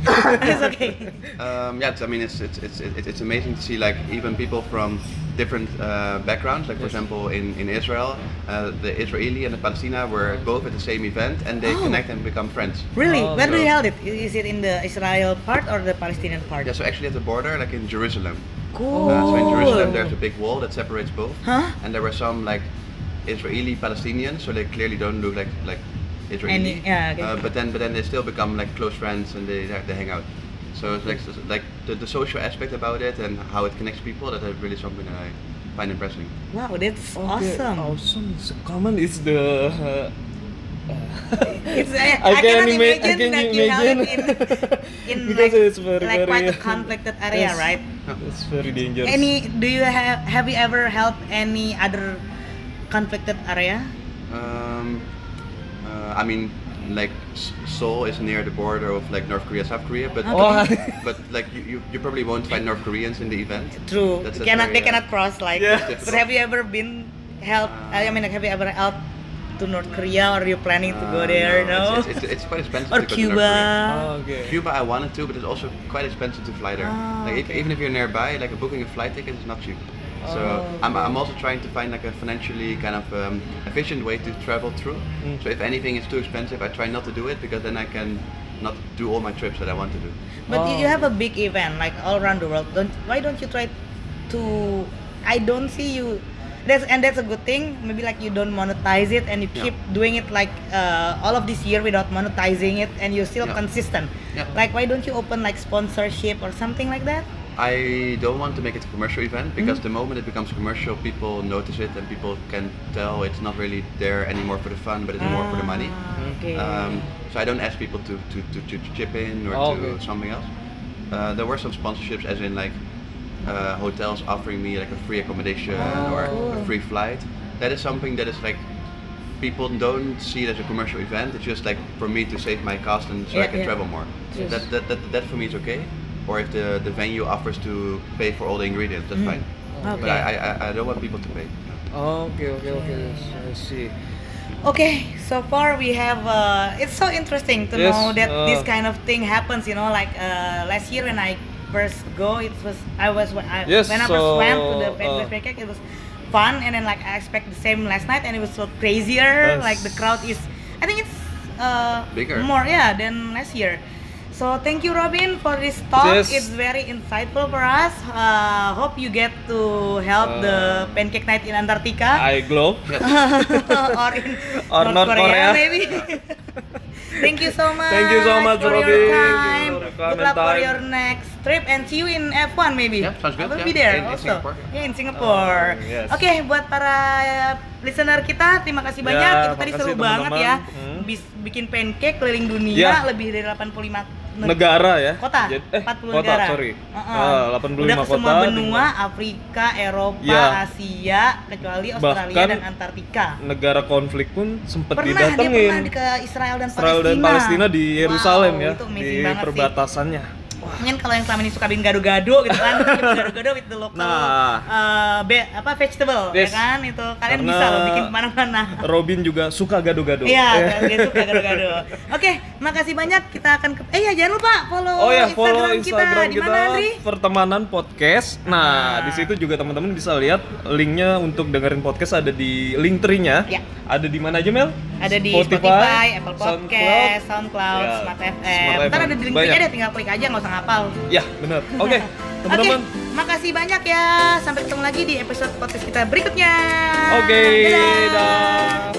Speaker 1: it's okay.
Speaker 3: Um, yeah, it's, I mean, it's it's, it's it's it's amazing to see like even people from different uh, backgrounds. Like for
Speaker 2: Yes.
Speaker 3: example, in in Israel, uh, the Israeli and the Palestina were both at the same event, and they
Speaker 1: Oh.
Speaker 3: connect and become friends.
Speaker 1: Really?
Speaker 2: Oh,
Speaker 1: Where do you
Speaker 3: no.
Speaker 1: held it? I- Is it in the Israel part or the Palestinian part?
Speaker 3: Yeah, so actually at the border, like in Jerusalem.
Speaker 1: Cool.
Speaker 3: Uh, so in Jerusalem, there's a big wall that separates both,
Speaker 1: Huh?
Speaker 3: and there were some like Israeli Palestinians, so they clearly don't look like like Israeli.
Speaker 1: Any- yeah, okay.
Speaker 3: uh, but then but then they still become like close friends and they they hang out. So it's like it's like the, the social aspect about it and how it connects people that is really something that I find impressive.
Speaker 1: Wow, that's
Speaker 2: Okay,
Speaker 1: awesome.
Speaker 2: Awesome. So common is the. Uh,
Speaker 1: It's, I, I
Speaker 2: I
Speaker 1: cannot
Speaker 2: can ima- I
Speaker 1: imagine
Speaker 2: can
Speaker 1: that you held it
Speaker 2: imagine.
Speaker 1: in, in
Speaker 2: Because
Speaker 1: like,
Speaker 2: it's very,
Speaker 1: like quite a
Speaker 2: very-
Speaker 1: conflicted area,
Speaker 2: Yes.
Speaker 1: right?
Speaker 2: it's very dangerous.
Speaker 1: Any? Do you have have you ever helped any other conflicted area?
Speaker 3: Um, uh, I mean, like S- Seoul is near the border of like North Korea, South Korea, but
Speaker 2: Oh.
Speaker 3: but like you, you, you probably won't find North Koreans in the event.
Speaker 1: True.
Speaker 3: That's a
Speaker 1: cannot they
Speaker 3: very,
Speaker 1: cannot
Speaker 3: uh,
Speaker 1: cross like.
Speaker 2: Yeah.
Speaker 1: But have you ever been helped? I mean, like, have you ever helped to North Korea or are you planning to go
Speaker 3: Uh,
Speaker 1: there?
Speaker 3: no,
Speaker 1: No.
Speaker 3: It's, it's, it's, it's quite expensive.
Speaker 1: or
Speaker 3: to go to North Korea.
Speaker 1: Cuba.
Speaker 2: Ah, okay.
Speaker 3: Cuba, I wanted to, but it's also quite expensive to fly there.
Speaker 1: Ah,
Speaker 3: like if-
Speaker 1: okay.
Speaker 3: even if you're nearby, like booking a flight ticket is not cheap. So
Speaker 2: Oh,
Speaker 3: I'm, I'm also trying to find like a financially kind of um, efficient way to travel through.
Speaker 2: Mm.
Speaker 3: So if anything is too expensive, I try not to do it because then I can not do all my trips that I want to do.
Speaker 1: But you- you
Speaker 2: Oh.
Speaker 1: have a big event like all around the world. Don't why don't you try to? I don't see you. That's and that's a good thing. Maybe like you don't monetize it and you
Speaker 3: Yeah.
Speaker 1: keep doing it like uh, all of this year without monetizing it and you're still
Speaker 3: Yeah.
Speaker 1: consistent.
Speaker 3: Yeah.
Speaker 1: Like why don't you open like sponsorship or something like that?
Speaker 3: I don't want to make it a commercial
Speaker 1: Mm.
Speaker 3: event because the moment it becomes commercial, people notice it and people can tell it's not really there anymore for the fun, but it's more for the money.
Speaker 1: Ah, Okay.
Speaker 3: Um, so I don't ask people to, to, to, to chip in or
Speaker 2: Oh,
Speaker 3: to
Speaker 2: okay.
Speaker 3: something else. Uh, there were some sponsorships, as in like uh, hotels offering me like a free accommodation or
Speaker 1: Oh.
Speaker 3: a free flight. That is something that is like people don't see it as a commercial event. It's just like for me to save my cost and so I
Speaker 1: Yeah,
Speaker 3: can
Speaker 1: yeah.
Speaker 3: travel more.
Speaker 1: Yes.
Speaker 3: That, that, that, that for me is okay. Or if the, the venue offers to pay for all the ingredients, that's fine.
Speaker 1: Mm. Okay.
Speaker 3: But I, I, I don't want people to pay.
Speaker 2: Oh, okay, okay, okay. Yes, I see.
Speaker 1: Okay, so far we have. Uh, it's so interesting to
Speaker 2: Yes,
Speaker 1: know that
Speaker 2: uh,
Speaker 1: this kind of thing happens. You know, like uh, last year when I first go, it was I was when I,
Speaker 2: Yes,
Speaker 1: when I first
Speaker 2: so,
Speaker 1: went to the
Speaker 2: uh,
Speaker 1: Pancake Pancake, it was fun, and then like I expect the same last night, and it was so crazier.
Speaker 2: Yes.
Speaker 1: Like the crowd is, I think it's uh,
Speaker 3: Bigger.
Speaker 1: more yeah than last year. So thank you, Robin, for this talk.
Speaker 2: Yes.
Speaker 1: It's very insightful for us. Uh, hope you get to help the
Speaker 2: Uh,
Speaker 1: Pancake Night in Antarctica.
Speaker 2: I glow.
Speaker 1: or in
Speaker 2: Or
Speaker 1: North,
Speaker 2: North
Speaker 1: Korea,
Speaker 2: Korea.
Speaker 1: maybe. Thank you so much.
Speaker 2: Thank you so much,
Speaker 1: for
Speaker 2: Robin.
Speaker 1: your time.
Speaker 2: Thank you for
Speaker 1: Good luck for
Speaker 2: time.
Speaker 1: your next trip and see you in F1 maybe.
Speaker 3: Yeah, sounds
Speaker 1: I
Speaker 3: good,
Speaker 1: will
Speaker 3: yeah.
Speaker 1: be there
Speaker 3: In- in
Speaker 1: also.
Speaker 3: Singapore.
Speaker 1: Yeah, in Singapore.
Speaker 2: Oh, yes.
Speaker 1: Oke, buat para listener kita, terima kasih
Speaker 2: Ya,
Speaker 1: banyak. Itu tadi
Speaker 2: makasih,
Speaker 1: seru banget ya.
Speaker 2: teman-teman. Hmm.
Speaker 1: Bis- bikin pancake keliling dunia
Speaker 2: Ya.
Speaker 1: lebih dari 85 neg-
Speaker 2: Negara ya.
Speaker 1: kota
Speaker 2: Jadi- eh,
Speaker 1: 40
Speaker 2: kota,
Speaker 1: negara
Speaker 2: sorry.
Speaker 1: Uh-uh.
Speaker 2: Ah, 85
Speaker 1: udah ke semua
Speaker 2: kota,
Speaker 1: benua Afrika Eropa
Speaker 2: Ya.
Speaker 1: Asia kecuali Australia
Speaker 2: Bahkan
Speaker 1: dan Antartika
Speaker 2: Negara konflik pun sempat
Speaker 1: pernah dia pernah
Speaker 2: didatengin.
Speaker 1: di- ke Israel dan
Speaker 2: Israel
Speaker 1: Palestina
Speaker 2: dan Palestina di Yerusalem
Speaker 1: Wow,
Speaker 2: ya,
Speaker 1: itu amazing
Speaker 2: di
Speaker 1: banget sih.
Speaker 2: perbatasannya.
Speaker 1: mungkin kalau yang selama ini suka bikin gado-gado gitu kan bikin gado-gado with the local
Speaker 2: Nah.
Speaker 1: uh, be- apa vegetable ya
Speaker 2: Yes.
Speaker 1: kan itu kalian
Speaker 2: Karena-
Speaker 1: bisa loh bikin kemana-mana
Speaker 2: Robin juga suka gado-gado. Eh,
Speaker 1: Iya, dia suka gado-gado. Oke, makasih banyak. Kita akan ke Eh ya, jangan lupa follow,
Speaker 2: Oh ya,
Speaker 1: Instagram,
Speaker 2: follow
Speaker 1: kita.
Speaker 2: Instagram
Speaker 1: Di
Speaker 2: kita,
Speaker 1: mana, Andri?
Speaker 2: pertemanan podcast.
Speaker 1: Ah.
Speaker 2: Nah, di situ juga teman-teman bisa lihat linknya untuk dengerin podcast ada di link trinya.
Speaker 1: Ya.
Speaker 2: Ada di mana aja Mel?
Speaker 1: Ada di Spotify, Apple Podcast, SoundCloud,
Speaker 2: Ya,
Speaker 1: Smart FM.
Speaker 2: Smart
Speaker 1: Ntar
Speaker 2: FM.
Speaker 1: ada di link
Speaker 2: Banyak.
Speaker 1: aja deh, tinggal klik aja nggak usah ngapal.
Speaker 2: Ya, benar. Oke,
Speaker 1: Oke,
Speaker 2: teman-teman.
Speaker 1: makasih banyak ya. Sampai ketemu lagi di episode podcast kita berikutnya.
Speaker 2: Oke,
Speaker 1: Dadah.
Speaker 2: dah.